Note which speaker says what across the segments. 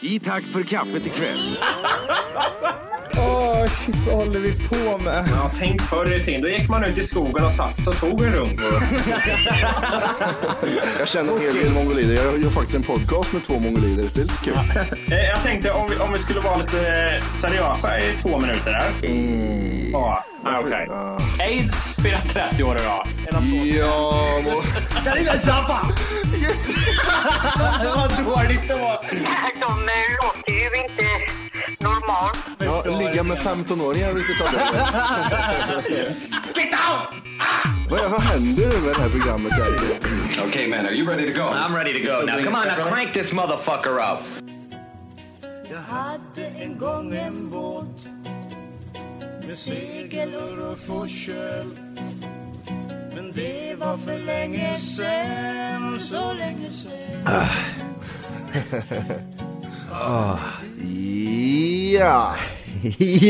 Speaker 1: I tack för kaffet ikväll.
Speaker 2: Åh, Ah, shit, vad håller vi på med?
Speaker 3: Ja, tänk förr i tiden. Då gick man ut i skogen och satt sig och tog en runk.
Speaker 4: Jag känner en hel del mongolider. Jag gör faktiskt en podcast med två mongolider. Det är lite kul.
Speaker 3: Eh, Jag tänkte om vi, om vi skulle vara lite eh, seriösa i två minuter där. Ja, ah, okej. Aids firar 30 år idag. En applåd.
Speaker 4: Ja, må...
Speaker 3: Vad dåligt det var.
Speaker 5: De låter ju inte normalt.
Speaker 4: ja, ligga med 15-åringar vilket av det är. Vad, vad händer nu med det här programmet? Där?
Speaker 6: Okay, man, are you ready to go? I'm ready to go. Now, come on, now crank this motherfucker up.
Speaker 7: hade en gång en båt med segel och ruff och köl. Men det var för länge sen, så länge sen.
Speaker 4: Ja!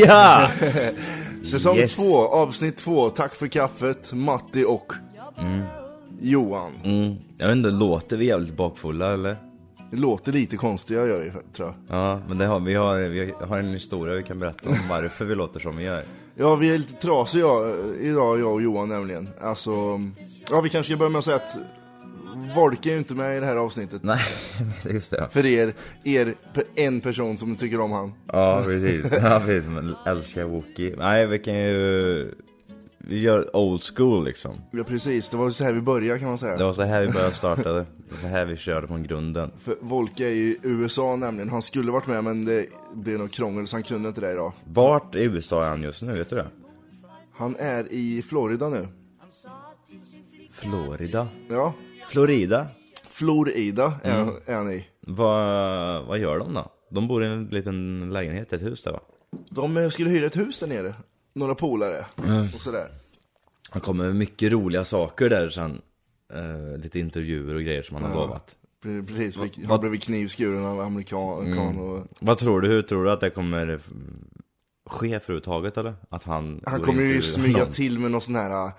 Speaker 2: Ja!
Speaker 4: Säsong
Speaker 2: Yes.
Speaker 4: två, avsnitt två. Tack för kaffet, Matti och Johan.
Speaker 2: Mm. Jag vet inte, låter vi jävligt bakfulla eller?
Speaker 4: Det låter lite konstigt, jag gör det, tror jag.
Speaker 2: Ja, men det har, vi, har, vi har en historia vi kan berätta om varför vi låter som vi gör.
Speaker 4: Ja, vi är lite trasiga jag- idag, jag och Johan nämligen. Alltså, ja, vi kanske ska börja med att säga att Volke är ju inte med i det här avsnittet.
Speaker 2: Nej, just det.
Speaker 4: För er, er pe- en person som tycker om han.
Speaker 2: Ja, precis. Ja, precis. Men älskar Wookie. Nej, vi kan ju... Vi gör old school liksom.
Speaker 4: Ja, precis. Det var så här vi började kan man säga.
Speaker 2: Det var så här vi började starta det. Det var så här vi körde från grunden.
Speaker 4: För Volke är i USA nämligen. Han skulle varit med men det blev något krångel så han kunde inte det idag.
Speaker 2: Vart i USA är han just nu? Vet du det?
Speaker 4: Han är i Florida nu.
Speaker 2: Florida.
Speaker 4: Ja,
Speaker 2: Florida?
Speaker 4: Florida är,
Speaker 2: Mm.
Speaker 4: är han i.
Speaker 2: Vad, vad gör de då? De bor i en liten lägenhet, ett hus där va?
Speaker 4: De eh, skulle hyra ett hus där nere. Några polare
Speaker 2: Mm.
Speaker 4: och sådär.
Speaker 2: Han kommer med mycket roliga saker där sen. Eh, lite intervjuer och grejer som han har lovat.
Speaker 4: Pre- Precis, vi- han blev knivskuren av
Speaker 2: Mm.
Speaker 4: amerikan amerikan och...
Speaker 2: Vad tror du? Hur tror du att det kommer eh, ske överhuvudtaget eller? Att han...
Speaker 4: Han
Speaker 2: går
Speaker 4: kommer ju
Speaker 2: intervjuer
Speaker 4: smyga
Speaker 2: någon?
Speaker 4: till med någon sån här äh,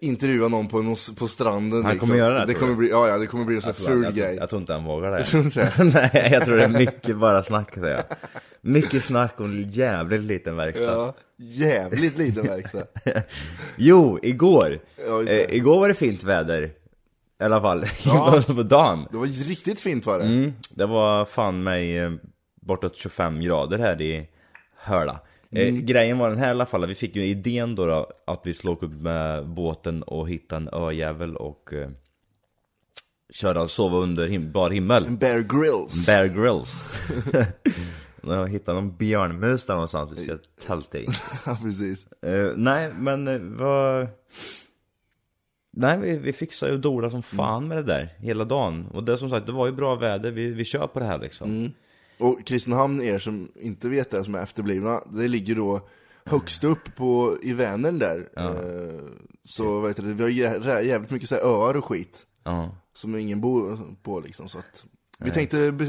Speaker 4: intervjua någon på, någon, s- på stranden liksom.
Speaker 2: Han kommer göra det,
Speaker 4: det
Speaker 2: tror
Speaker 4: kommer
Speaker 2: du?
Speaker 4: bli, ja, ja, det kommer bli en sån
Speaker 2: Jag
Speaker 4: här
Speaker 2: tror-
Speaker 4: ful
Speaker 2: jag, tror-
Speaker 4: grej
Speaker 2: Jag tror inte han vågar det.
Speaker 4: tror inte det?
Speaker 2: Nej, jag tror det är mycket bara snack säger jag. Mycket snack och en jävligt liten verkstad.
Speaker 4: ja, Jävligt liten verkstad
Speaker 2: Jo, igår.
Speaker 4: Ja, just det.
Speaker 2: eh, igår var det fint väder. I alla fall, på dagen.
Speaker 4: Det var riktigt fint var det
Speaker 2: Mm, det var fan mig eh, bortåt 25 grader här i Höla. Eh, Grejen var den här i alla fall, vi fick ju idén då, då att vi skulle åka upp med båten och hitta en öjävel och eh, köra och sova under him- bar himmel.
Speaker 4: Bear Grylls
Speaker 2: Bear Grylls. När jag hittar någon björnmus där någonstans vi ska tälta i.
Speaker 4: Ja, precis
Speaker 2: Eh, nej, men eh, vad... Nej, vi, vi fixade ju Dora som fan med det där hela dagen. Och det som sagt, det var ju bra väder, vi, vi kör på det här liksom.
Speaker 4: Och Kristinehamn, er som inte vet det, som är efterblivna Det ligger då högst upp på, i Vänern där Eh, Så vet du, vi har jä- jävligt mycket så här öar och skit
Speaker 2: Ja,
Speaker 4: Som ingen bor på liksom så att Vi tänkte be,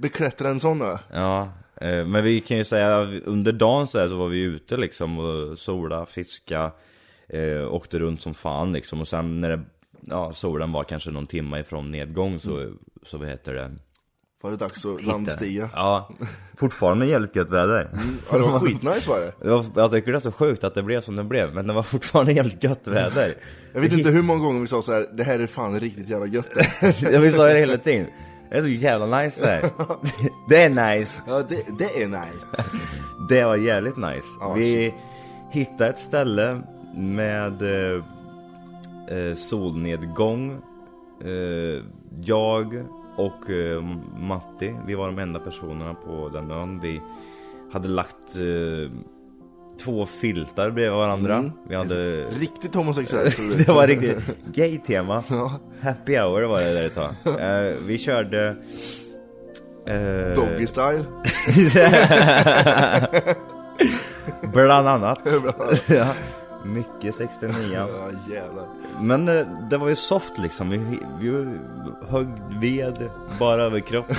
Speaker 4: beklättra en sån ö
Speaker 2: ja. Eh, Men vi kan ju säga under dagen så, här så var vi ute liksom och sola, fiska, eh, åkte runt som fan liksom. Och sen när det, ja, solen var kanske någon timme ifrån nedgång så, så vad heter det?
Speaker 4: Var det dags att landstiga?
Speaker 2: Ja, fortfarande jävligt gött väder.
Speaker 4: Ja, det var skitnice var det.
Speaker 2: Det var- Jag tycker det är så sjukt att det blev som det blev, men det var fortfarande helt gött väder.
Speaker 4: Jag vet inte hur många gånger vi sa så här, det här är fan riktigt jävla gött.
Speaker 2: Jag vill säga det hela tiden. Det är så jävla nice det här. Det är nice.
Speaker 4: Ja, det, det är nice.
Speaker 2: Det var jävligt nice.
Speaker 4: Ja,
Speaker 2: Vi hittade ett ställe med eh, eh, solnedgång. Eh, jag och eh, Matti, vi var de enda personerna på den ön. Vi hade lagt eh, två filtar bredvid varandra.
Speaker 4: Mm.
Speaker 2: Vi hade
Speaker 4: Riktigt homosexuellt. tror du?
Speaker 2: Det var riktigt gay-tema.
Speaker 4: Ja.
Speaker 2: Happy hour var det där ett tag. Eh, vi körde... eh,
Speaker 4: Doggy style.
Speaker 2: bland annat. ja. Mycket 69
Speaker 4: Ja, jävlar.
Speaker 2: Men eh, det var ju soft liksom, vi, vi högg ved, bara överkropp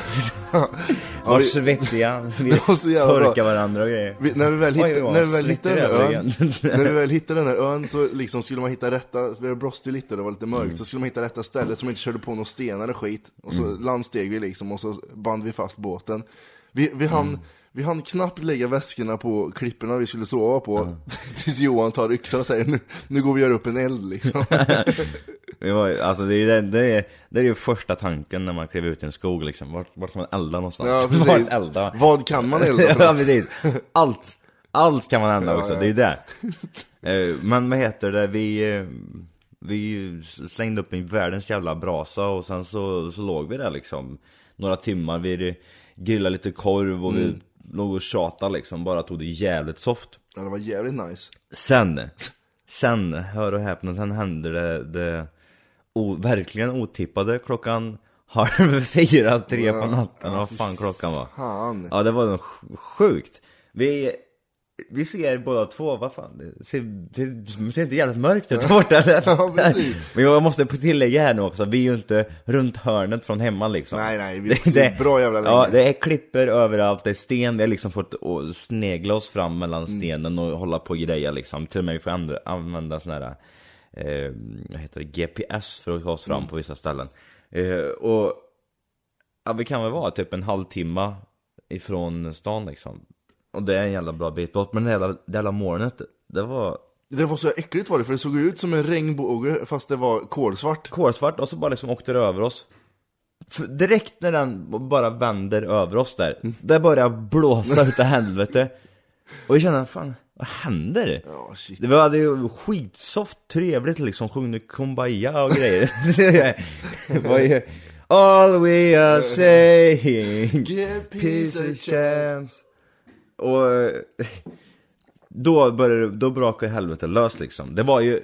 Speaker 2: Var
Speaker 4: vi-
Speaker 2: svettiga, vi
Speaker 4: var så jävla bra.
Speaker 2: torkade varandra och grejer
Speaker 4: Vi, när vi väl,
Speaker 2: Oj,
Speaker 4: hitt,
Speaker 2: vad
Speaker 4: när vi väl
Speaker 2: svettig
Speaker 4: hittade den
Speaker 2: jag
Speaker 4: där
Speaker 2: blev
Speaker 4: ön, när vi väl hittade den där ön så liksom skulle man hitta rätta, för det blåste ju lite och det var lite mörkt,
Speaker 2: Mm.
Speaker 4: så skulle man hitta rätta stället som inte körde på några stenar och skit. Och så
Speaker 2: Mm.
Speaker 4: landsteg vi liksom och så band vi fast båten. Vi, vi, hann,
Speaker 2: Mm.
Speaker 4: vi hann knappt lägga väskorna på klipporna vi skulle sova på,
Speaker 2: Mm.
Speaker 4: tills Johan tar yxan och säger nu, nu går vi och gör upp en eld liksom.
Speaker 2: Det var ju, alltså det är, ju det, det, är, det är ju första tanken när man kliver ut i en skog liksom, vart, vart kan man elda någonstans?
Speaker 4: Ja, precis.
Speaker 2: vart elda?
Speaker 4: Vad kan man elda för
Speaker 2: ja
Speaker 4: något?
Speaker 2: precis, allt, allt kan man elda också,
Speaker 4: ja.
Speaker 2: det är ju det Eh, Men vad heter det, vi, eh, vi slängde upp en världens jävla brasa och sen så, så låg vi där liksom Några timmar, vi grillade lite korv och
Speaker 4: Mm.
Speaker 2: vi låg och tjatade liksom, bara tog det jävligt soft
Speaker 4: Ja, det var jävligt nice.
Speaker 2: Sen, sen, hör och häpna, sen händer det, det o, verkligen otippade klockan halv fyra, tre på natten, vad fan klockan var.
Speaker 4: Fan.
Speaker 2: Ja det var nog sj- sjukt. Vi, vi ser båda två, vad fan, det ser, det ser inte jävligt mörkt ut där borta eller?
Speaker 4: Ja, precis.
Speaker 2: Men jag måste tillägga här nu också, vi är ju inte runt hörnet från hemma liksom.
Speaker 4: Nej, nej, vi- det är bra jävla
Speaker 2: Ja,
Speaker 4: länge.
Speaker 2: det är klipper överallt, det är sten, vi har liksom fått å- snegla oss fram mellan stenen och hålla på och greja liksom. Till och med vi får andra- använda sån här, eh, vad heter det, GPS för att ta oss fram på vissa ställen. Eh, och ja, vi kan väl vara typ en halvtimme ifrån stan liksom. Och det är en jävla bra bit bort, men det jävla, det jävla molnet, det var
Speaker 4: Det var så äckligt var det, för det såg ju ut som en regnbåge fast det var kolsvart.
Speaker 2: kolsvart och så bara liksom åkte det över oss. För direkt när den bara vänder över oss där, där börjar jag blåsa utav helvete. Och jag känner, fan, vad händer?
Speaker 4: Ja, shit.
Speaker 2: Det var det är ju skitsoft, trevligt liksom, sjöng kumbaya och grejer. Det var ju, All we are saying,
Speaker 4: Give
Speaker 2: peace and chance. Och eh, då började det- då brakade helvete lös liksom. Det var ju,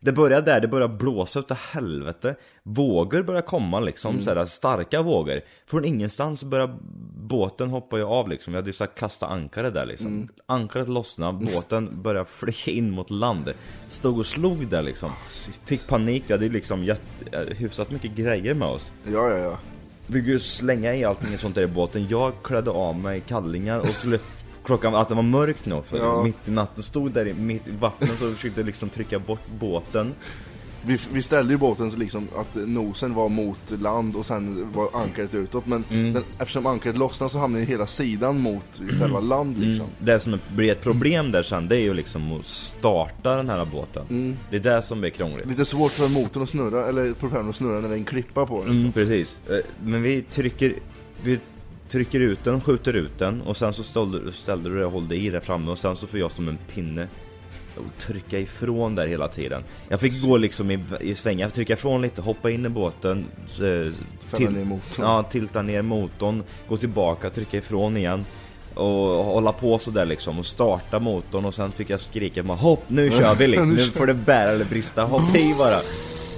Speaker 2: det började där, det började blåsa utav helvete. Vågor började komma liksom, sådär, starka vågor. Från ingenstans började båten hoppa ju av liksom. Jag hade ju såhär kasta ankare där liksom. Ankaret lossnade, båten började flyga in mot land. Stod och slog där liksom. Fick panik, vi hade ju liksom jätte- eh, hyfsat mycket grejer med oss.
Speaker 4: Ja, ja, ja.
Speaker 2: Vi gick ju slänga i allting sånt där i båten. Jag klädde av mig kallingar och skulle... Klockan, alltså det var mörkt nu också,
Speaker 4: Ja.
Speaker 2: mitt i natten. Stod där i, mitt i vattnet och försökte liksom trycka bort båten.
Speaker 4: Vi, vi ställde ju båten så liksom att nosen var mot land och sen var ankaret utåt. Men
Speaker 2: Mm.
Speaker 4: den, eftersom ankaret lossnade så hamnade ju hela sidan mot själva land
Speaker 2: Mm.
Speaker 4: liksom.
Speaker 2: Det som blir ett problem där sen, det är ju liksom att starta den här båten. Det är det som blir krångligt.
Speaker 4: Lite svårt för motorn att snurra, eller propellern att snurra när det är en klippa på den. liksom.
Speaker 2: Mm, precis. Eh, Men vi trycker, vi trycker ut den, skjuter ut den och sen så ställde, ställde du dig och hållde i där framme och sen så får jag som en pinne och trycka ifrån där hela tiden. Jag fick gå liksom i, i svängar, trycka ifrån lite, hoppa in i båten, eh,
Speaker 4: ner motorn.
Speaker 2: Ja, tilta ner motorn, gå tillbaka, trycka ifrån igen och hålla på sådär liksom och starta motorn och sen fick jag skrika bara hopp nu kör vi liksom, nu får det bära eller brista, hoppa i bara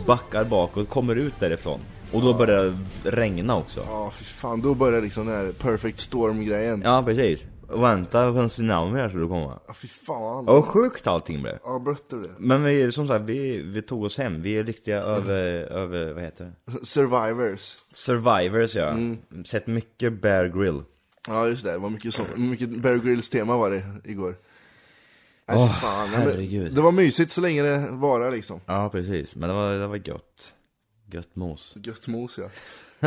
Speaker 2: Backar bakåt, kommer ut därifrån och då börjar det regna också
Speaker 4: Ja, fy fan. Då börjar liksom den här perfect storm-grejen. Ja.
Speaker 2: Ja precis, vänta på en tsunami här skulle komma
Speaker 4: fy fan.
Speaker 2: Och sjukt allting blev
Speaker 4: Ja, blötte det.
Speaker 2: Men vi, som sagt, vi, vi tog oss hem, vi är riktiga över, över vad heter det?
Speaker 4: Survivors.
Speaker 2: Survivors ja, sett mycket Bear Grill
Speaker 4: Ja, just det. Det var mycket, så, mycket Bear Grylls tema var det igår. Nej, fy
Speaker 2: Åh,
Speaker 4: fan. Nej, men
Speaker 2: herregud.
Speaker 4: Det var mysigt så länge det varar liksom.
Speaker 2: Ja precis, men det var, det var gött Gött mos
Speaker 4: Gött mos ja.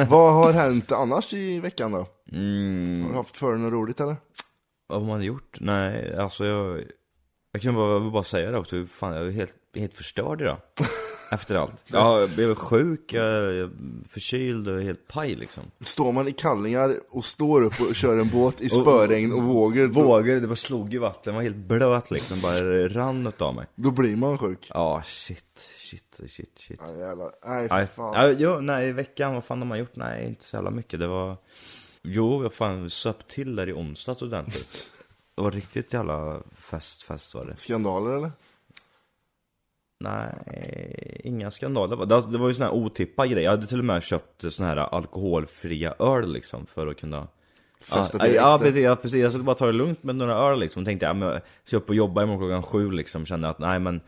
Speaker 4: Vad har hänt annars i veckan då?
Speaker 2: mm.
Speaker 4: Har du haft för dig något roligt eller?
Speaker 2: Vad har man gjort? Nej, alltså jag... Jag kan bara, jag vill bara säga det också, fan jag är helt, helt förstörd idag Efter allt Ja, Jag blev sjuk, jag, jag förkyld och helt paj liksom
Speaker 4: Står man i kallingar och står upp och kör en båt i spöregn och vågor, då,
Speaker 2: Vågor, det bara slog i vatten, var helt blöt liksom, bara rann av mig
Speaker 4: då blir man sjuk.
Speaker 2: Ja, shit, shit, shit, shit
Speaker 4: Ja, jävlar. Nej,
Speaker 2: Nej,
Speaker 4: fy fan.
Speaker 2: ja, jo, nej, i veckan, vad fan har man gjort? Nej, inte så jävla mycket. Det var... Jo, jag fan söp till där i onsdags ordentligt. Det var riktigt jävla fest, fest var det.
Speaker 4: Skandaler eller?
Speaker 2: Nej, inga skandaler. Det, det var ju sån här otippad grej. Jag hade till och med köpt sån här alkoholfria öl liksom för att kunna Ja,
Speaker 4: Festa till
Speaker 2: ja,
Speaker 4: extra.
Speaker 2: precis, ja precis, jag skulle bara ta det lugnt med några öl liksom. Tänkte jag, men jag ska upp och jobba imorgon klockan sju liksom. Kände att nej men,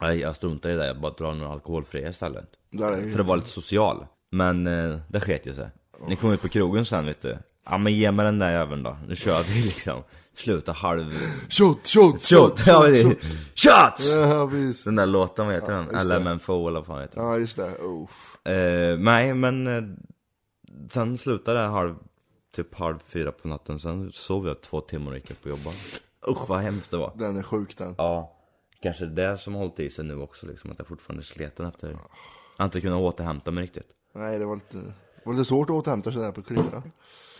Speaker 2: nej, jag struntar i det där. Jag bara drar några alkoholfria istället.
Speaker 4: Det här är ju-
Speaker 2: För att vara lite social. Men eh, det sket ju sig. Ni kom ut på krogen sen vet du. Ja men ge mig den där jäveln då. Nu kör vi liksom. Sluta halv...
Speaker 4: Shot, shot,
Speaker 2: Shot! Ja, precis. Shots!
Speaker 4: Ja, precis.
Speaker 2: Den där låten, vad heter
Speaker 4: just
Speaker 2: den?
Speaker 4: det.
Speaker 2: LMFO eller vad fan heter den?
Speaker 4: Ja, just det. Uff.
Speaker 2: Eh, nej, men eh, sen slutade jag halv, typ halv fyra på natten. Sen sov jag två timmar och gick upp och jobbade. Usch vad hemskt det var.
Speaker 4: Den är sjuk den.
Speaker 2: Ja, kanske det är det som har hållit i sig nu också liksom. Att jag fortfarande är sliten efter. Jag har inte kunnat återhämta mig riktigt.
Speaker 4: Nej, det var lite, det var lite svårt att återhämta sig där på klipporna.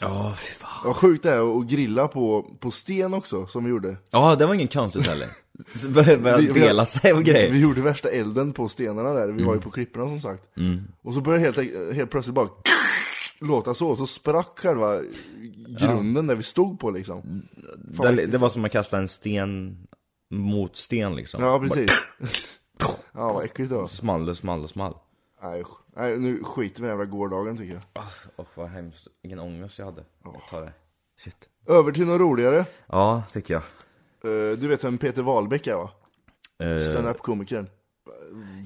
Speaker 2: Ja, fy fan.
Speaker 4: Vad sjukt det är att grilla på, på sten också, som vi gjorde.
Speaker 2: Ja, det var ingen konstigt heller. Så Började började dela sig och grejer.
Speaker 4: Vi gjorde värsta elden på stenarna där, vi var ju på klipporna som sagt.
Speaker 2: Mm.
Speaker 4: Och så började helt, enk- helt plötsligt bara låta så, och så sprack själva grunden där vi stod på
Speaker 2: Mm.
Speaker 4: liksom.
Speaker 2: det, det var som att kasta en sten mot sten liksom.
Speaker 4: Ja, precis. Ja, vad äckligt det var.
Speaker 2: Bara Small och small och small.
Speaker 4: Nej, sk- nej, nu skiter vi i den jävla gårdagen tycker jag.
Speaker 2: Åh, Ah, vad hemskt. Vilken ångest jag hade. Jag tar det. Shit.
Speaker 4: Över till något roligare.
Speaker 2: Ja, tycker jag.
Speaker 4: Eh, Du vet vem Peter Wahlbeck är va?
Speaker 2: Eh,
Speaker 4: Standup-komikern.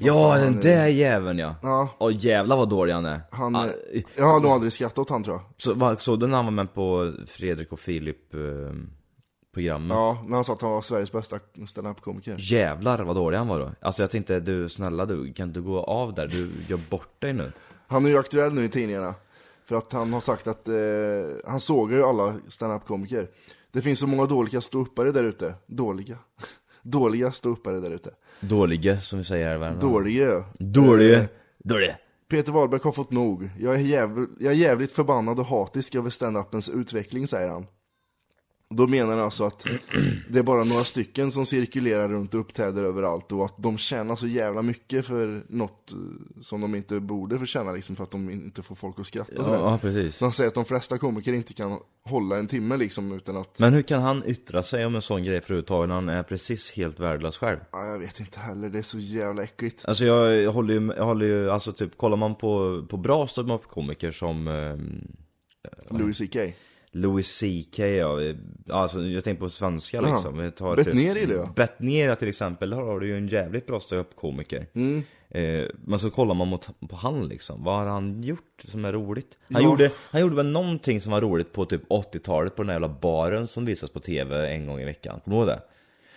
Speaker 2: ja, den där jäveln ja.
Speaker 4: Ja.
Speaker 2: Åh jävlar vad dålig han är.
Speaker 4: Han,
Speaker 2: Ah,
Speaker 4: eh, jag har nog aldrig skrattat åt han tror jag.
Speaker 2: så, vad- såg du när han var med på Fredrik och Filip eh, programmet?
Speaker 4: Ja, när han sa att han var Sveriges bästa standup-komiker.
Speaker 2: Jävlar vad dålig han var då. Alltså jag tänkte, du snälla du, kan du gå av där? Du gör bort dig nu.
Speaker 4: Han är ju aktuell nu i tidningarna. För att han har sagt att, eh, han sågar ju alla standup-komiker. Det finns så många dåliga ståuppare där ute. Dåliga. Dåliga ståuppare där ute.
Speaker 2: Dålige, som vi säger här i Värmland.
Speaker 4: Dåliga.
Speaker 2: Dålige. Dålige.
Speaker 4: Peter Wahlbeck har fått nog. Jag är, jävl- jag är jävligt förbannad och hatisk över standupens utveckling, säger han. Då menar han alltså att det är bara några stycken som cirkulerar runt och uppträder överallt och att de tjänar så jävla mycket för något eh, som de inte borde förtjäna liksom för att de inte får folk att skratta.
Speaker 2: Ja,
Speaker 4: sådär.
Speaker 2: ja, precis.
Speaker 4: Så han säger att de flesta komiker inte kan hålla en timme liksom utan att,
Speaker 2: Men hur kan han yttra sig om en sån grej förhuvudtaget när han är precis helt värdelös själv?
Speaker 4: ja, ah, jag vet inte heller, det är så jävla äckligt.
Speaker 2: Alltså jag, jag håller ju, jag håller ju, alltså typ kollar man på, på bra ståuppkomiker som eh,
Speaker 4: Louis CK.
Speaker 2: Louis CK, ja, eh, alltså jag tänker på svenska
Speaker 4: Ja.
Speaker 2: liksom. Vi tar
Speaker 4: Bettner gillar
Speaker 2: Mm.
Speaker 4: jag.
Speaker 2: Bettner ja, till exempel, där har du ju en jävligt bra ståuppkomiker.
Speaker 4: Mm.
Speaker 2: Eh, men så kollar man mot, på han liksom, vad har han gjort som är roligt? Han,
Speaker 4: Ja.
Speaker 2: gjorde, han gjorde väl någonting som var roligt på typ 80-talet på den här jävla baren som visas på tv en gång i veckan, kommer du ihåg det?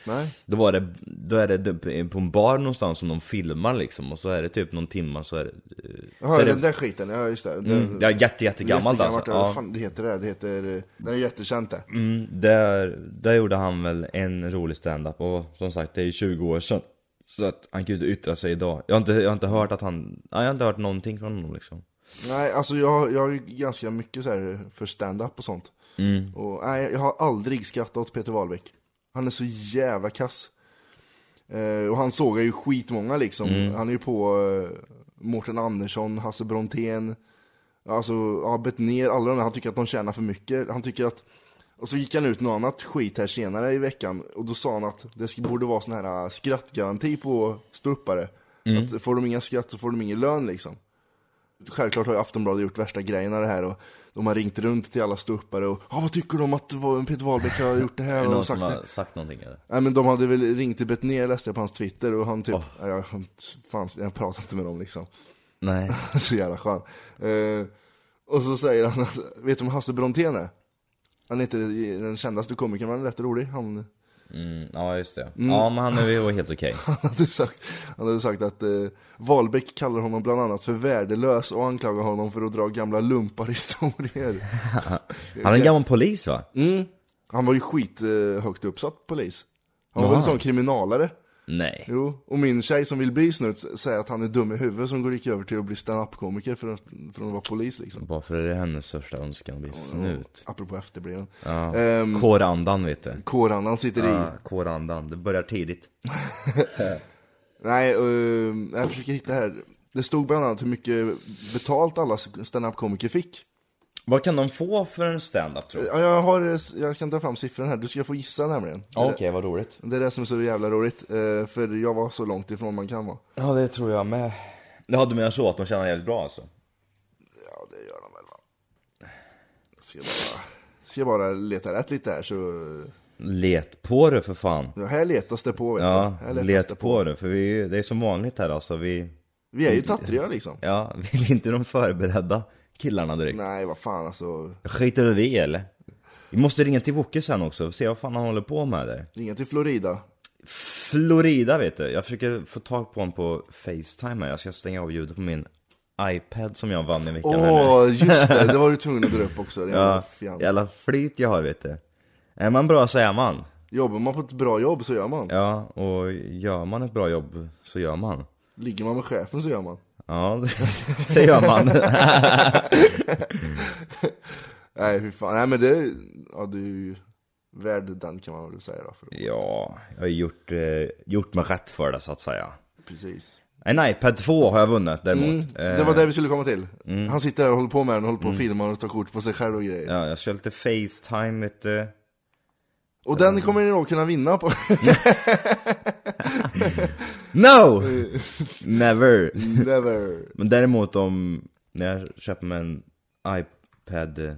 Speaker 4: Nej,
Speaker 2: Då, var det, då är det på en bar någonstans som de filmar liksom och så är det typ någon timma så är det... eh,
Speaker 4: Jaha,
Speaker 2: så är det,
Speaker 4: den där skiten, ja just det. Den,
Speaker 2: mm, det är jätte, jättegammalt alltså.
Speaker 4: Jättegammalt, ja.
Speaker 2: Ja.
Speaker 4: vad fan det heter det? Det heter, eh, den är jättekänt det.
Speaker 2: Mm, där, där gjorde han väl en rolig standup och som sagt det är ju 20 år sedan. Så att han kan ju inte yttra sig idag. Jag har inte, jag har inte hört att han, nej, jag har inte hört någonting från honom liksom.
Speaker 4: Nej, alltså jag, jag har ju ganska mycket så här för stand-up och sånt.
Speaker 2: Mm.
Speaker 4: Och nej, jag har aldrig skrattat åt Peter Wahlbeck. Han är så jävla kass. Eh, och han sågar ju skitmånga liksom.
Speaker 2: Mm.
Speaker 4: Han är ju på eh, Mårten Andersson, Hasse Brontén, alltså Abet ner alla de där. Han tycker att de tjänar för mycket. Han tycker att och så gick han ut något annat skit här senare i veckan och då sa han att det sk- borde vara sån här eh, skrattgaranti på ståuppare.
Speaker 2: Mm.
Speaker 4: Att får de inga skratt så får de ingen lön liksom. Självklart har ju Aftonbladet gjort värsta grejen av det här och de har ringt runt till alla ståuppare och ah, vad tycker du om att vad- Peter Wahlbeck har gjort det
Speaker 2: Är det
Speaker 4: här
Speaker 2: någon
Speaker 4: och sagt
Speaker 2: som
Speaker 4: det?
Speaker 2: har sagt någonting eller?
Speaker 4: Nej men de hade väl ringt till Betnér läste jag på hans twitter och han typ, nej, jag, han- fan, jag pratar inte med dem liksom.
Speaker 2: Nej.
Speaker 4: så jävla skön. Eh, och så säger han, att- vet du vem Hasse Brontén är? Han är inte den kändaste komikern, men han är rätt rolig. Han,
Speaker 2: Mm, ja just det. Ja men han är ju helt okej.
Speaker 4: han, hade, sagt, han hade sagt att eh, Wahlbeck kallar honom bland annat för värdelös och anklagar honom för att dra gamla lumparhistorier.
Speaker 2: Han är en gammal polis va?
Speaker 4: Han var ju skit eh, högt uppsatt polis. Han var väl en sån kriminalare.
Speaker 2: Nej.
Speaker 4: Jo, och min tjej som vill bli snut s- säger att han är dum i huvudet som går gick över till att bli stand-up-komiker för att, för att vara polis liksom.
Speaker 2: Varför är det hennes största önskan att bli snut?
Speaker 4: Apropå efterbliven.
Speaker 2: Ja.
Speaker 4: Ehm,
Speaker 2: Kårandan vet du.
Speaker 4: Kåran, han sitter i.
Speaker 2: Ja, Mm. kårandan. Det börjar tidigt.
Speaker 4: Nej, ehm, jag försöker hitta här. Det stod bland annat hur mycket betalt alla stand-up-komiker fick.
Speaker 2: Vad kan de få för en stand-up tror du?
Speaker 4: Ja, Jag, har, eh, jag kan ta fram siffran här, du ska få gissa nämligen.
Speaker 2: Ja, Okej, vad roligt.
Speaker 4: Det är det som är så jävla roligt, eh, för jag var så långt ifrån man kan vara.
Speaker 2: Ja det tror jag med. Ja du menar så, att de tjänar jävligt bra alltså?
Speaker 4: Ja, det gör de väl va? Ska bara, ska bara leta rätt lite här så...
Speaker 2: Let på det för fan.
Speaker 4: Ja, här letas det på vet
Speaker 2: Ja,
Speaker 4: du. Här letas
Speaker 2: let på det. För vi, det är som vanligt här alltså. Vi,
Speaker 4: Vi är ju tattriga liksom.
Speaker 2: ja, vill inte de förberedda killarna direkt.
Speaker 4: Nej, vad fan alltså.
Speaker 2: Skiter vi i, eller? Vi måste ringa till Wocke sen också, och se vad fan han håller på med där.
Speaker 4: Ringa till Florida.
Speaker 2: Florida vet du, jag försöker få tag på honom på Facetime här. Jag ska stänga av ljudet på min iPad som jag vann i veckan
Speaker 4: Åh,
Speaker 2: här nu.
Speaker 4: just det. Det var du tvungen att dra upp också. Det är
Speaker 2: Ja,
Speaker 4: ja, fjant.
Speaker 2: jävla flyt jag har vet du. Är man bra så är man.
Speaker 4: Jobbar man på ett bra jobb så gör man.
Speaker 2: Ja, och gör man ett bra jobb så gör man.
Speaker 4: Ligger man med chefen så gör man.
Speaker 2: Ja, det- det gör man.
Speaker 4: Nej, fy fan. Nej, men det... Ja, du är ju värd den kan man väl säga då.
Speaker 2: Mm.
Speaker 4: För,
Speaker 2: Ja, jag har gjort, eh, gjort mig rätt för det så att säga. Eh,
Speaker 4: precis.
Speaker 2: En iPad 2 har jag vunnit däremot.
Speaker 4: Mm,
Speaker 2: Eh,
Speaker 4: Det var det vi skulle komma till. Han sitter där och håller på med den, håller på och filmar och tar kort på sig själv och grejer.
Speaker 2: Mm. Ja, jag kör lite Facetime, vet du.
Speaker 4: Och den kommer ni nog kunna vinna på.
Speaker 2: No! Never!
Speaker 4: Never.
Speaker 2: Men däremot om, när jag köper mig en iPad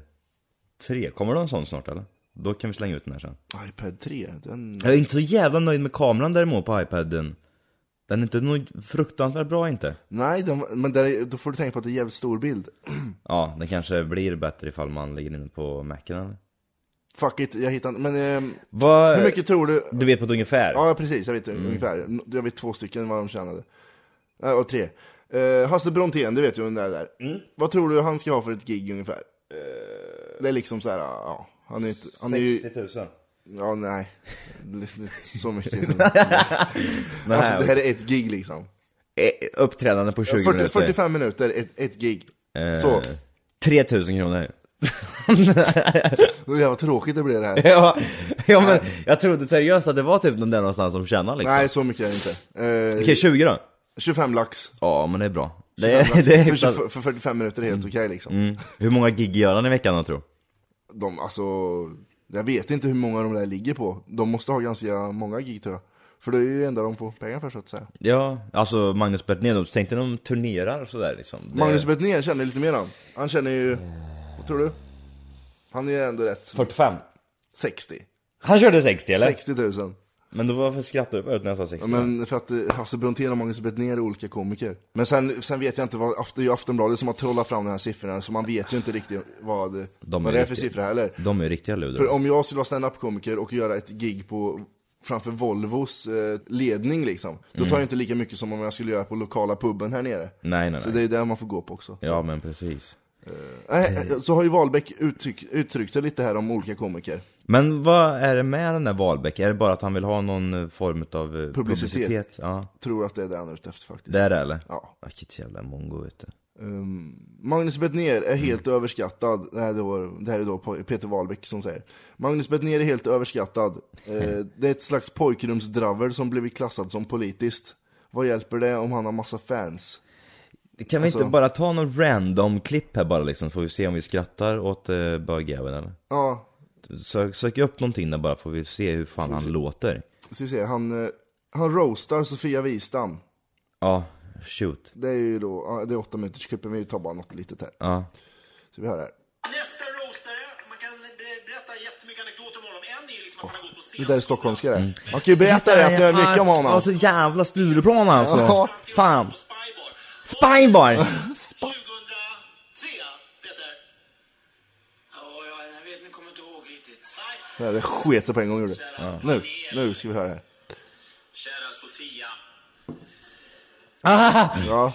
Speaker 2: 3, kommer det en sån snart eller? Då kan vi slänga ut den här sen.
Speaker 4: iPad 3, den...
Speaker 2: Jag är inte så jävla nöjd med kameran däremot på iPaden. Den är inte nog fruktansvärt bra inte.
Speaker 4: Nej, den, men där, är- då får du tänka på att det är jävligt stor bild.
Speaker 2: Ja, den kanske blir bättre ifall man lägger in den på Macen eller?
Speaker 4: Fuck it, jag hittar inte. Men ehm,
Speaker 2: Vad,
Speaker 4: hur mycket tror du?
Speaker 2: du vet på ett ungefär?
Speaker 4: Ja, precis, jag vet
Speaker 2: Mm.
Speaker 4: ungefär. Jag vet två stycken vad de tjänade. Äh, och tre. Eh, Hasse Brontén, du vet ju vem det är där.
Speaker 2: Mm.
Speaker 4: Vad tror du han ska ha för ett gig ungefär?
Speaker 2: Eh.
Speaker 4: det är liksom så här, ja. Han är, inte, han är ju,
Speaker 2: 60 000.
Speaker 4: ja nej. Så mycket. alltså, det här är ett gig liksom.
Speaker 2: Eh, Uppträdande på 20
Speaker 4: 40,
Speaker 2: minuter.
Speaker 4: 45 minuter, ett, ett gig.
Speaker 2: Eh,
Speaker 4: Så,
Speaker 2: 3000 kronor.
Speaker 4: vad jävla tråkigt det blir det här.
Speaker 2: ja, ja, men jag trodde seriöst att det var typ någon där någonstans som tjänar liksom.
Speaker 4: Nej, så mycket är det inte. Eh,
Speaker 2: Okej, 20 då?
Speaker 4: 25 lax.
Speaker 2: Ja, men det är bra. Det,
Speaker 4: 25
Speaker 2: är-
Speaker 4: lax.
Speaker 2: det är
Speaker 4: för,
Speaker 2: hyfsat.
Speaker 4: 25 för 45 minuter är helt okej liksom.
Speaker 2: mm. Hur många gig gör han i veckan då, tror
Speaker 4: De, alltså, jag vet inte hur många de där ligger på. De måste ha ganska många gig tror jag. För det är ju det enda de får pengar för så att säga.
Speaker 2: Ja, alltså Magnus Betnér, de tänkte de turnerar och sådär liksom. Det...
Speaker 4: Magnus Betnér känner lite mer han. Han känner ju, vad tror du? Han är ändå rätt,
Speaker 2: 45.
Speaker 4: 60.
Speaker 2: Han körde 60 eller?
Speaker 4: 60 000.
Speaker 2: Men då varför skrattade du förut när jag sa 60?
Speaker 4: Men för att eh, Hasse Brontén och Magnus Betnér är olika komiker. Men sen, sen vet jag inte vad, After- det är ju Aftonbladet som har trollat fram de här siffrorna, så man vet ju inte riktigt vad,
Speaker 2: De
Speaker 4: vad
Speaker 2: är
Speaker 4: det är för
Speaker 2: riktiga.
Speaker 4: siffror heller.
Speaker 2: De är ju riktiga
Speaker 4: För
Speaker 2: luder.
Speaker 4: om jag skulle vara standup-komiker och göra ett gig på framför Volvos eh, ledning liksom, då tar jag inte lika mycket som om jag skulle göra på lokala puben här nere.
Speaker 2: Nej, nej,
Speaker 4: Så det
Speaker 2: nej.
Speaker 4: är där man får gå på också.
Speaker 2: Ja, men precis.
Speaker 4: Äh, äh, så har ju Wahlbeck uttryck, uttryckt sig lite här om olika komiker.
Speaker 2: Men vad är det med den där Wahlbeck? Är det bara att han vill ha någon eh, form av publicitet? publicitet? Ja,
Speaker 4: Tror att det är det han är ute efter faktiskt.
Speaker 2: det är det eller?
Speaker 4: Ja. ehm,
Speaker 2: Vilket jävla mongo vet du.
Speaker 4: Magnus Bettner är helt
Speaker 2: Mm.
Speaker 4: överskattad. Det här, är då, det här är då Peter Wahlbeck som säger. Magnus Bettner är helt överskattad. Eh, det är ett slags pojkrumsdravel som blivit klassad som politiskt. Vad hjälper det om han har massa fans?
Speaker 2: Kan vi
Speaker 4: Alltså-
Speaker 2: inte bara ta någon random klipp här bara liksom, får vi se om vi skrattar åt eh, bögjäveln eller?
Speaker 4: Ja,
Speaker 2: Sök, sök upp någonting där bara, får vi se hur fan han låter.
Speaker 4: ska vi se. Han, eh, han roastar Sofia Wistam.
Speaker 2: Ja, shoot.
Speaker 4: Det är ju då, ja, det är åtta minuters klipp, men vi tar bara något litet här.
Speaker 2: Ja.
Speaker 4: Så vi hör här.
Speaker 8: Nästa roastare, man kan ber- berätta jättemycket anekdoter om honom. En är ju liksom att han har gått på scen.
Speaker 4: Det där är stockholmska
Speaker 2: Mm.
Speaker 4: det. Man kan ju berätta det, att jag är mycket om honom.
Speaker 2: Alltså jävla Stureplan alltså.
Speaker 4: Ja.
Speaker 2: Fan.
Speaker 8: På Spybar.
Speaker 2: Spybar!
Speaker 8: 2003, Peter.
Speaker 7: Ja, jag, jag vet, ni kommer inte ihåg riktigt.
Speaker 8: Nej.
Speaker 4: Det där sket sig på en gång gjorde. Nu, nu ska vi höra det här.
Speaker 8: Kära Sofia.
Speaker 2: Ah,
Speaker 4: Ja,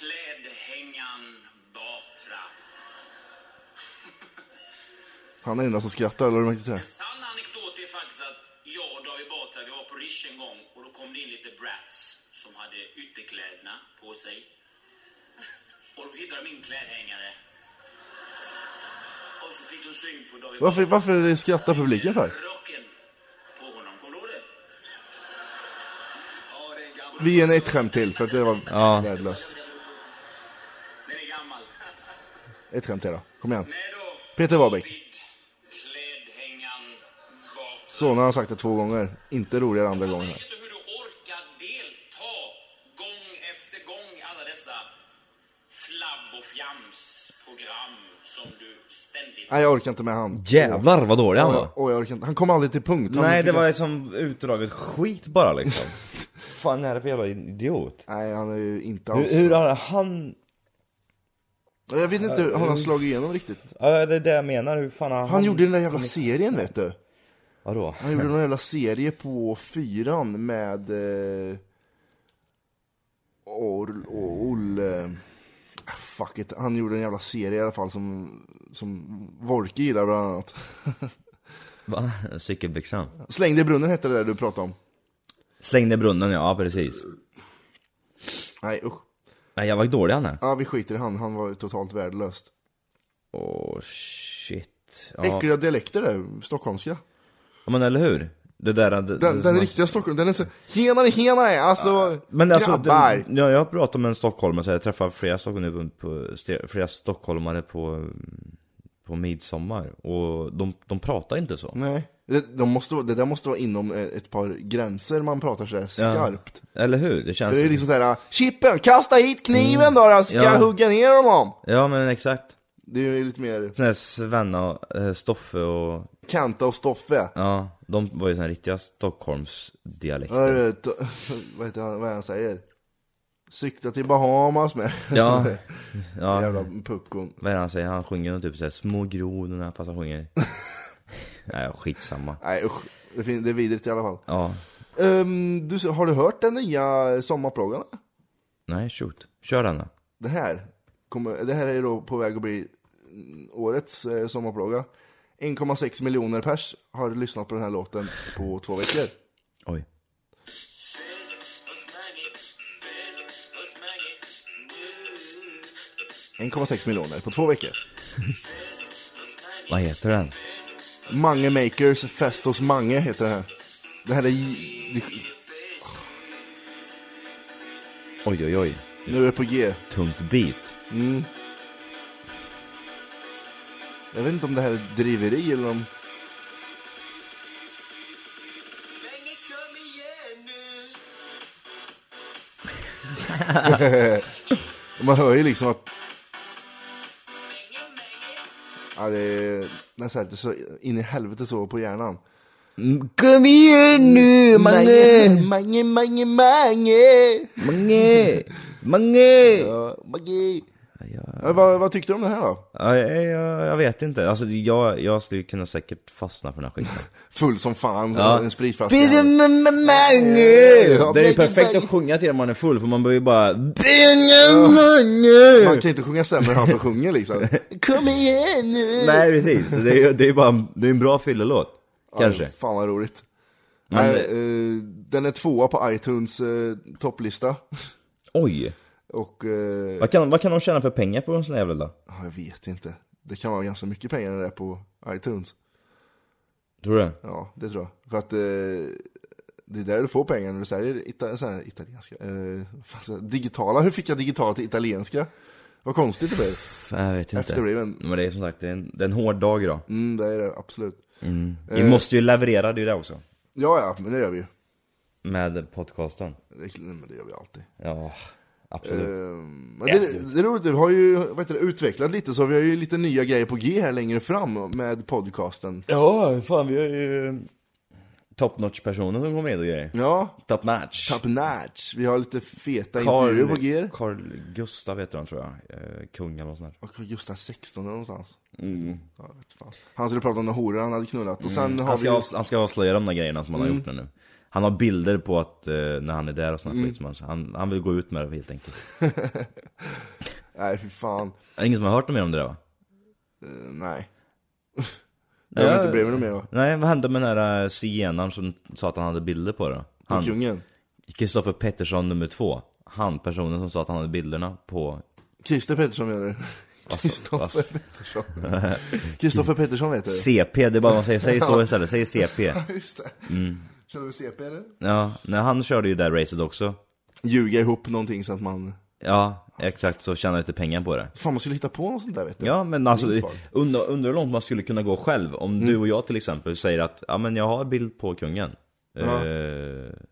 Speaker 8: Klädhängan Batra.
Speaker 4: han är den enda som skrattar, eller hur märkte det?
Speaker 8: En sann anekdot är faktiskt att jag och David Batra vi var på Rish en gång och då kom det in lite brats som hade ytterkläderna på sig. Och då hittade de min klädhängare. Och så fick de syn på David
Speaker 4: Varför, varför är det skrattar publiken för?
Speaker 8: Rocken på honom, kommer du ihåg det? Ja, det är gammalt.
Speaker 4: Vi ger en ett skämt till för att det var
Speaker 2: Ja.
Speaker 4: värdelöst.
Speaker 8: Den är gammal.
Speaker 4: Ett skämt till då, kom igen.
Speaker 8: Nej då.
Speaker 4: Peter Wahlbeck.
Speaker 8: Vid Klädhängan bak.
Speaker 4: Så, nu har han sagt det två gånger. Inte roligare andra
Speaker 8: Jag
Speaker 4: gången.
Speaker 8: vet
Speaker 4: här.
Speaker 8: inte hur du orkar delta gång efter gång alla dessa flabb och fjams program som du ständigt.
Speaker 4: Nej, jag orkar inte med han.
Speaker 2: Jävlar vad dålig han
Speaker 4: Åh,
Speaker 2: var.
Speaker 4: jag- åh, jag orkar inte. Han kom aldrig till punkt. Han
Speaker 2: Nej
Speaker 4: fick
Speaker 2: det var
Speaker 4: en-
Speaker 2: som utdraget skit bara liksom. Fan är det för jävla idiot?
Speaker 4: Nej, han är ju inte alls...
Speaker 2: Hur, hur har han...
Speaker 4: Jag vet inte, hur han har slagit igenom riktigt.
Speaker 2: Ja det är det jag menar, hur fan har han...
Speaker 4: Han gjorde den där jävla serien, vet du.
Speaker 2: Vadå?
Speaker 4: Han gjorde någon jävla serie på fyran med... Eh, Orl och Olle... Ah, Fuck it. Han gjorde en jävla serie i alla fall som, som Wolke gillar bland annat.
Speaker 2: Va? Cykelbyxan?
Speaker 4: Släng dig i brunnen hette det där du pratade om.
Speaker 2: Släng ner brunnen ja, ja precis.
Speaker 4: Nej usch.
Speaker 2: Nej jag var dålig han är.
Speaker 4: Ja vi skiter i han, han var totalt värdelös.
Speaker 2: Åh shit. Ja.
Speaker 4: Äckliga dialekter där, stockholmska.
Speaker 2: ja men eller hur? Det där... Det,
Speaker 4: Den, den riktiga Stockholm, den är så, tjenare tjenare, alltså,
Speaker 2: Men alltså,
Speaker 4: grabbar.
Speaker 2: den, ja, jag pratar med en stockholmare, så jag träffar flera stockholmare på, ste- flera stockholmare på, mm, på midsommar. Och de, de pratar inte så.
Speaker 4: Nej, det, de måste, vara- det där måste vara inom eh, ett par gränser man pratar sådär skarpt.
Speaker 2: Eller hur? Det känns...
Speaker 4: Det är liksom såhär, Chippen, kasta hit kniven då, då ska
Speaker 2: Mm. Ja.
Speaker 4: jag hugga ner honom!
Speaker 2: Ja men exakt.
Speaker 4: Det är ju lite mer
Speaker 2: Sån här Svenna, och, eh, Stoffe och...
Speaker 4: Kanta och Stoffe.
Speaker 2: Ja, de var ju såna riktiga Stockholmsdialekter.
Speaker 4: Hör, t- vad heter han, vad är han säger? Sikta till Bahamas med.
Speaker 2: Ja, ja.
Speaker 4: Jävla puckon.
Speaker 2: Vad är det han säger? Han sjunger något typ såhär små grodorna fast han sjunger... Nej, skitsamma.
Speaker 4: Nej usch, det, fin- det är vidrigt i alla fall.
Speaker 2: Ja.
Speaker 4: Ehm, du, har du hört den nya sommarplågan?
Speaker 2: Nej, shoot. Kör den då.
Speaker 4: Det här, kommer, det här är då på väg att bli mm, årets eh, sommarplåga. 1,6 miljoner pers har lyssnat på den här låten på två veckor.
Speaker 2: Oj.
Speaker 8: Rosmani, Rosmani,
Speaker 4: 1,6 miljoner på två veckor.
Speaker 2: Vad heter den?
Speaker 4: Mange Makers Fest hos Mange heter det här. Det här är... j- det-
Speaker 2: Oj, oj, oj.
Speaker 4: Nu är det på G.
Speaker 2: Tungt beat.
Speaker 4: Jag vet inte om det här är driveri eller om...
Speaker 8: Länge kom igen nu.
Speaker 4: Man hör ju liksom att... Ja, det är nästan så, här, så in i helvete så på hjärnan.
Speaker 2: Kom igen nu,
Speaker 4: Mange, Mange, Mange, Mange!
Speaker 2: Mange! Mange!
Speaker 4: Ja, Mange!
Speaker 2: Ja,
Speaker 4: Ja, vad, vad tyckte du om det här då?
Speaker 2: jag, jag, jag vet inte. Alltså, jag, jag skulle kunna säkert fastna för den här skiten.
Speaker 4: Full som fan,
Speaker 2: Ja.
Speaker 4: en spritflaska. i handen.
Speaker 2: Mange! Det är ju
Speaker 4: Mange,
Speaker 2: perfekt
Speaker 4: mange.
Speaker 2: att sjunga till när man är full, för man behöver ju bara... Mange!
Speaker 4: Man kan inte sjunga sämre än han som sjunger liksom. Kom igen nu!
Speaker 2: Nej precis, Så det är ju det är bara det är en bra fyllelåt. Kanske.
Speaker 4: Ja, fan vad roligt.
Speaker 2: Men-
Speaker 4: Nej, eh, den är tvåa på iTunes eh, topplista.
Speaker 2: Oj!
Speaker 4: Och eh,
Speaker 2: Vad kan, vad kan de tjäna för pengar på en sån här jävla dag?
Speaker 4: ja, jag vet inte. Det kan vara ganska mycket pengar det där på iTunes.
Speaker 2: Tror du?
Speaker 4: Ja, det tror jag. För att eh, det är där du får pengar när du säljer ita- så här, italienska. Eh, fan, så här, digitala, hur fick jag digitala till italienska? Vad konstigt det blev.
Speaker 2: Fan, Jag vet inte.
Speaker 4: Efterbliven.
Speaker 2: Men det är som sagt, det är en, det är en hård dag idag.
Speaker 4: Mm, det är det absolut. Eh.
Speaker 2: Vi måste ju leverera, det är ju det också.
Speaker 4: Ja, ja, men det gör vi ju.
Speaker 2: Med podcasten.
Speaker 4: Det, men det gör vi alltid.
Speaker 2: Ja, absolut.
Speaker 4: Ehm, men det, det är roligt, vi har ju vad heter det, utvecklat lite så vi har ju lite nya grejer på G här längre fram med podcasten.
Speaker 2: Ja, fan vi har ju top notch personer som kommer hit och grejer.
Speaker 4: Ja,
Speaker 2: Top notch.
Speaker 4: Top Notch. Vi har lite feta intervjuer på G.
Speaker 2: Carl Gustav heter han tror jag. Eh, kung eller något sånt där.
Speaker 4: Och Gustav 16 eller någonstans. Ja, jag vet fan. Han skulle prata om några horor han hade knullat. Och sen har
Speaker 2: Mm. Han
Speaker 4: vi Mm.
Speaker 2: ska, avs- han ska avslöja de där grejerna som han har gjort nu. Han har bilder på att eh, när han är där och sånt
Speaker 4: Mm.
Speaker 2: skit som han, han, han vill gå ut med det helt enkelt.
Speaker 4: Nej, fy fan.
Speaker 2: Det är ingen som har hört något mer om det där va?
Speaker 4: Eh, nej. Det har
Speaker 2: Ja.
Speaker 4: inte blivit något mer va?
Speaker 2: Nej, vad hände med den här eh, zigenaren som sa att han hade bilder på det? då?
Speaker 4: På
Speaker 2: Han,
Speaker 4: kungen.
Speaker 2: Kristoffer Pettersson nummer två. Han personen som sa att han hade bilderna på...
Speaker 4: Christer Pettersson menar du? Kristoffer
Speaker 2: alltså.
Speaker 4: Pettersson. Kristoffer Pettersson heter det.
Speaker 2: CP, det är bara man säger, säg så istället, säg CP.
Speaker 4: Just det.
Speaker 2: Mm.
Speaker 4: Känner du CP eller?
Speaker 2: Ja, nej, han körde ju det där racet också.
Speaker 4: Ljuga ihop någonting så att man...
Speaker 2: Ja, exakt, så tjänar lite pengar på det.
Speaker 4: Fan man skulle hitta på något sånt där vet du.
Speaker 2: Ja, men alltså,
Speaker 4: Min far.
Speaker 2: undrar undra hur långt man skulle kunna gå själv. Om du och jag till exempel säger att, ja men jag har bild på kungen. Eh,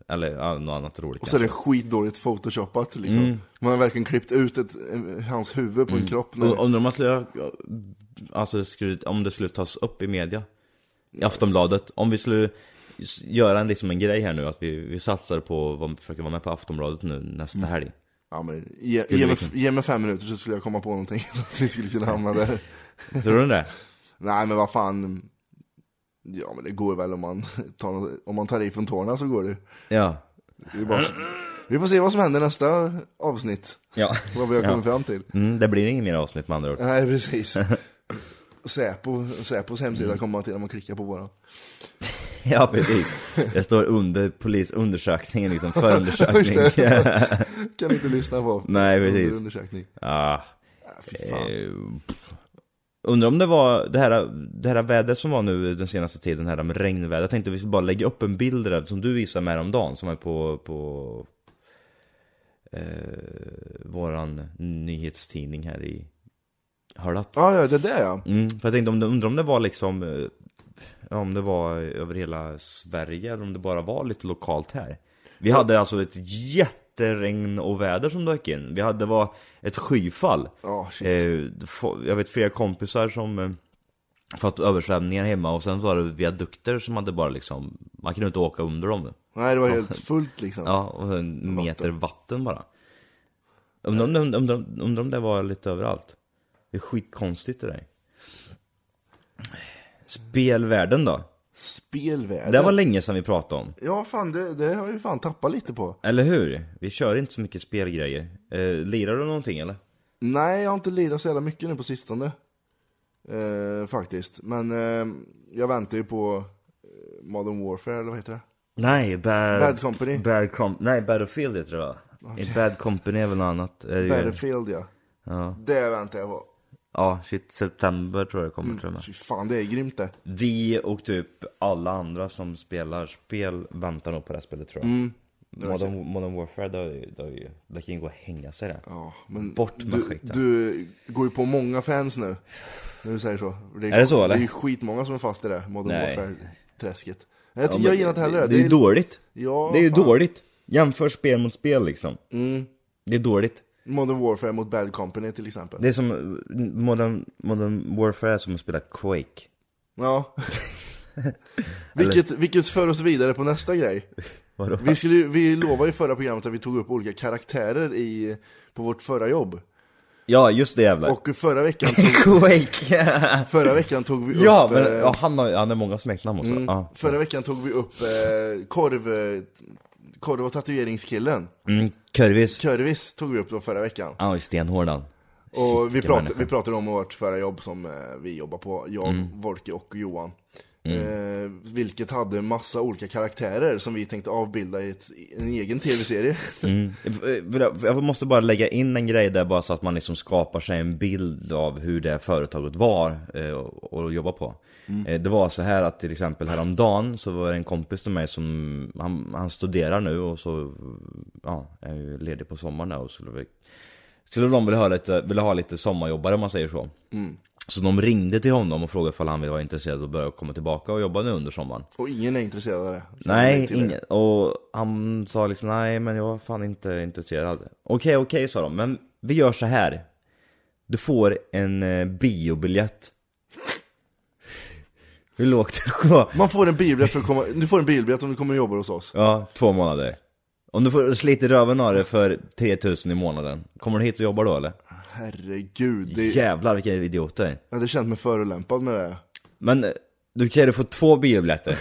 Speaker 2: eller ja, något annat roligt
Speaker 4: Och så är det
Speaker 2: kanske.
Speaker 4: skitdåligt photoshopat liksom. Man har verkligen klippt ut ett, eh, hans huvud på en kropp. när-
Speaker 2: Mm. Och- Undrar om man skulle, alltså det skulle, om det skulle tas upp i media I Aftonbladet, om vi skulle s- göra en, liksom en grej här nu att vi, vi satsar på, att vara- försöka vara med på Aftonbladet nu nästa helg
Speaker 4: Ja, men, ge, ge, mig,
Speaker 2: liksom-
Speaker 4: ge mig fem minuter så skulle jag komma på någonting så att vi skulle kunna hamna där.
Speaker 2: Tror du det?
Speaker 4: Nej men vad fan. Ja men det går väl om man tar, något- om man tar i från tårna så går det.
Speaker 2: Ja
Speaker 4: det är bara, vi får se vad som händer nästa avsnitt.
Speaker 2: Ja,
Speaker 4: Vad vi har kommit
Speaker 2: ja.
Speaker 4: fram till.
Speaker 2: Mm, det blir inget mer avsnitt med andra ord
Speaker 4: Nej precis. Säpo, Säpos hemsida
Speaker 2: Mm.
Speaker 4: kommer man till när man klickar på våran.
Speaker 2: Ja precis, det står under polisundersökningen liksom,
Speaker 4: Just
Speaker 2: förundersökning
Speaker 4: det. Kan inte lyssna på.
Speaker 2: Nej, precis.
Speaker 4: Under Undersökning.
Speaker 2: ah,
Speaker 4: Ah, fy fan.
Speaker 2: eh, Undrar om det var det här, det här vädret som var nu den senaste tiden här med regnväder Jag tänkte vi skulle bara lägga upp en bild där som du visade mig häromdagen som är på, på eh, våran nyhetstidning här i Hörlat
Speaker 4: Ja, ja, det där ja.
Speaker 2: Mm, för jag tänkte om det, undrar om det var liksom eh, ja, Om det var över hela Sverige eller om det bara var lite lokalt här Vi hade alltså ett jätteregn och väder som dök in Vi hade, det var ett skyfall
Speaker 4: Ja, shit.
Speaker 2: eh, få- Jag vet flera kompisar som eh, fått översvämningar hemma och sen var det viadukter som hade bara liksom Man kunde inte åka under dem
Speaker 4: Nej, det var helt fullt liksom.
Speaker 2: Ja, och en meter vatten bara Undrar om, undrar, undrar, undrar om det var lite överallt Det är skitkonstigt det där Spelvärlden då?
Speaker 4: Spelvärlden.
Speaker 2: Det var länge sedan vi pratade om
Speaker 4: Ja, fan det, det har jag ju fan tappat lite på.
Speaker 2: Eller hur? Vi kör inte så mycket spelgrejer eh, Lirar du någonting eller?
Speaker 4: Nej, jag har inte lirat så jävla mycket nu på sistone. Eh, faktiskt. Men eh, jag väntar ju på eh, Modern Warfare, eller vad heter det?
Speaker 2: Nej, bad,
Speaker 4: Bad Company.
Speaker 2: bad com nej, Battlefield heter det va? Eh, Bad Company är väl något annat? Är det ju-
Speaker 4: Battlefield ja. Det väntar jag på.
Speaker 2: Ja, shit, September tror jag det kommer tror jag.
Speaker 4: Fy fan, det är grymt det.
Speaker 2: Vi och typ alla andra som spelar spel väntar nog på det här spelet tror jag.
Speaker 4: Mm.
Speaker 2: Modern, Modern Warfare, det, har ju- det, har ju- det kan ju gå och hänga sig det.
Speaker 4: Ja, men
Speaker 2: Bort med
Speaker 4: du,
Speaker 2: skiten.
Speaker 4: du går ju på många fans nu. När du säger så.
Speaker 2: Är det så, eller?
Speaker 4: Det är ju skitmånga som är fast i det, Modern
Speaker 2: Nej.
Speaker 4: Warfare-träsket. Jag, ty- jag gillar inte heller det.
Speaker 2: det. Det är ju dåligt.
Speaker 4: Ja,
Speaker 2: det är ju
Speaker 4: fan. Mm.
Speaker 2: dåligt. Jämför spel mot spel liksom. Det är dåligt.
Speaker 4: Modern Warfare mot Bad Company till exempel.
Speaker 2: Det är som, eh, Modern, Modern Warfare är som att spela Quake.
Speaker 4: Ja. vilket, vilket för oss vidare på nästa grej.
Speaker 2: Vadå?
Speaker 4: Vi, skulle, ju- vi lovade i förra programmet att vi tog upp olika karaktärer i, på vårt förra jobb.
Speaker 2: Ja, just det jävlar.
Speaker 4: Och förra veckan tog,
Speaker 2: Quake!
Speaker 4: förra veckan tog vi upp...
Speaker 2: ja, men
Speaker 4: eh,
Speaker 2: ja, han, har, han har många smeknamn också. Ja.
Speaker 4: Förra veckan tog vi upp eh, korv, eh, korv och tatueringskillen.
Speaker 2: Mm, Kurvis.
Speaker 4: Körvis tog vi upp då förra veckan.
Speaker 2: Han var ju stenhård han.
Speaker 4: Och vi,
Speaker 2: vilken
Speaker 4: prat,
Speaker 2: människa.
Speaker 4: vi pratade om vårt förra jobb som eh, vi jobbar på, jag,
Speaker 2: Mm.
Speaker 4: Volke och Johan. Eh, vilket hade massa olika karaktärer som vi tänkte avbilda i ett, i en egen tv-serie.
Speaker 2: eh, Jag måste bara lägga in en grej där bara så att man liksom skapar sig en bild av hur det här företaget var eh, och och jobba på. Eh, Det var så här att till exempel häromdagen så var det en kompis till mig som, han, han studerar nu och så, ja, är ju ledig på sommaren där och skulle, väl- skulle de vilja ha lite, vilja ha lite sommarjobbare om man säger så. Så de ringde till honom och frågade ifall han ville vara intresserad och börja komma tillbaka och jobba nu under sommaren.
Speaker 4: Och ingen är intresserad av det. Kan jag
Speaker 2: Nej,
Speaker 4: tillägga.
Speaker 2: ingen. Och han sa liksom nej, men jag var fan inte intresserad. Okej, okej, sa de. Men vi gör så här. Du får en eh, biobiljett. Hur lågt det går.
Speaker 4: Man får en bilbiljett för att komma, du får en bilbiljett om du kommer och jobbar hos oss.
Speaker 2: Ja, två månader. Om du får slita röven av det för 3000 i månaden, kommer du hit och jobbar då eller?
Speaker 4: Herregud, det,
Speaker 2: Jävlar vilka idioter.
Speaker 4: jag hade känt mig förolämpad med det.
Speaker 2: Men eh, du kan ju få två biobiljetter.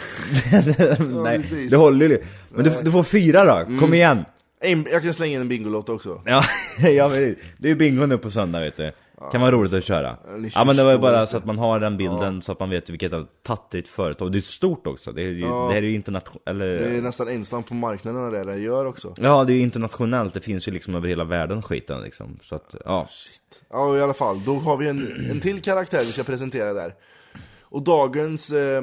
Speaker 2: Nej,
Speaker 4: precis. Mm.
Speaker 2: det håller ju. Men du, du får fyra då, kom igen.
Speaker 4: En, jag kan slänga in en Bingolotto också.
Speaker 2: Ja, ja men det är ju bingo nu på söndag vet du. Kan vara roligt att köra.
Speaker 4: ni
Speaker 2: Ja men det var ju
Speaker 4: förstår
Speaker 2: bara
Speaker 4: inte.
Speaker 2: så att man har den bilden så att man vet vilket av tattigt företag. Det är stort också. Det, är ju, det här är ju internationellt,
Speaker 4: Jag är
Speaker 2: eller...
Speaker 4: nästan ensam på marknaden när det där jag gör också.
Speaker 2: Ja det är ju internationellt, det finns ju liksom över hela världen skiten liksom. Så att, ja.
Speaker 4: Ja, i alla fall. Då har vi en, en till karaktär vi ska presentera där. Och dagens eh,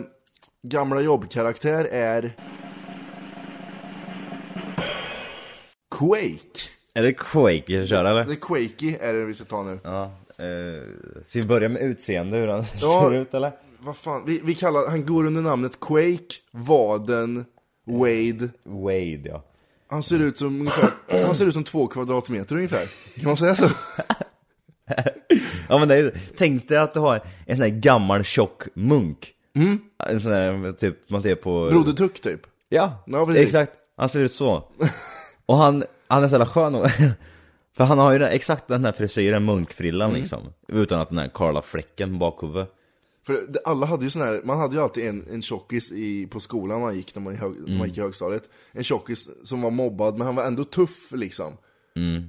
Speaker 4: gamla jobbkaraktär är... Quake.
Speaker 2: Är det Quake vi ska köra eller?
Speaker 4: Det är Quakey är det vi ska ta nu.
Speaker 2: Ja. Eh, ska vi börja med utseende, hur han
Speaker 4: Ja.
Speaker 2: ser ut eller?
Speaker 4: Vad fan, vi, vi kallar, han går under namnet Quake, Vaden Wade.
Speaker 2: Wade ja.
Speaker 4: Han ser ut som ungefär, han ser ut som två kvadratmeter ungefär. Kan man säga så?
Speaker 2: Ja men det är ju, tänk dig att du har en sån här gammal tjock munk. En sån här typ man ser på...
Speaker 4: Mm. Broder Tuck typ.
Speaker 2: Ja,
Speaker 4: Ja, precis.
Speaker 2: exakt. Han ser ut så. Och han, han är så jävla skön och, För han har ju den, exakt den här frisyren, munkfrillan liksom. Utan att den här karla fläcken bakhuvudet.
Speaker 4: För det- alla hade ju sån här, man hade ju alltid en, en tjockis i, på skolan man gick när man, i hög, när man gick i högstadiet. En tjockis som var mobbad men han var ändå tuff liksom.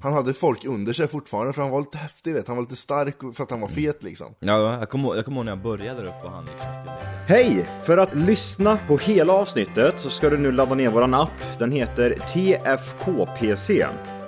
Speaker 4: Han hade folk under sig fortfarande för han var lite häftig vet, han var lite stark och- för att han var fet liksom.
Speaker 2: Ja, jag kommer ihåg- jag kommer ihåg när jag började där uppe och han liksom skulle-
Speaker 9: Hej! För att lyssna på hela avsnittet så ska du nu ladda ner våran app. Den heter TFKPC.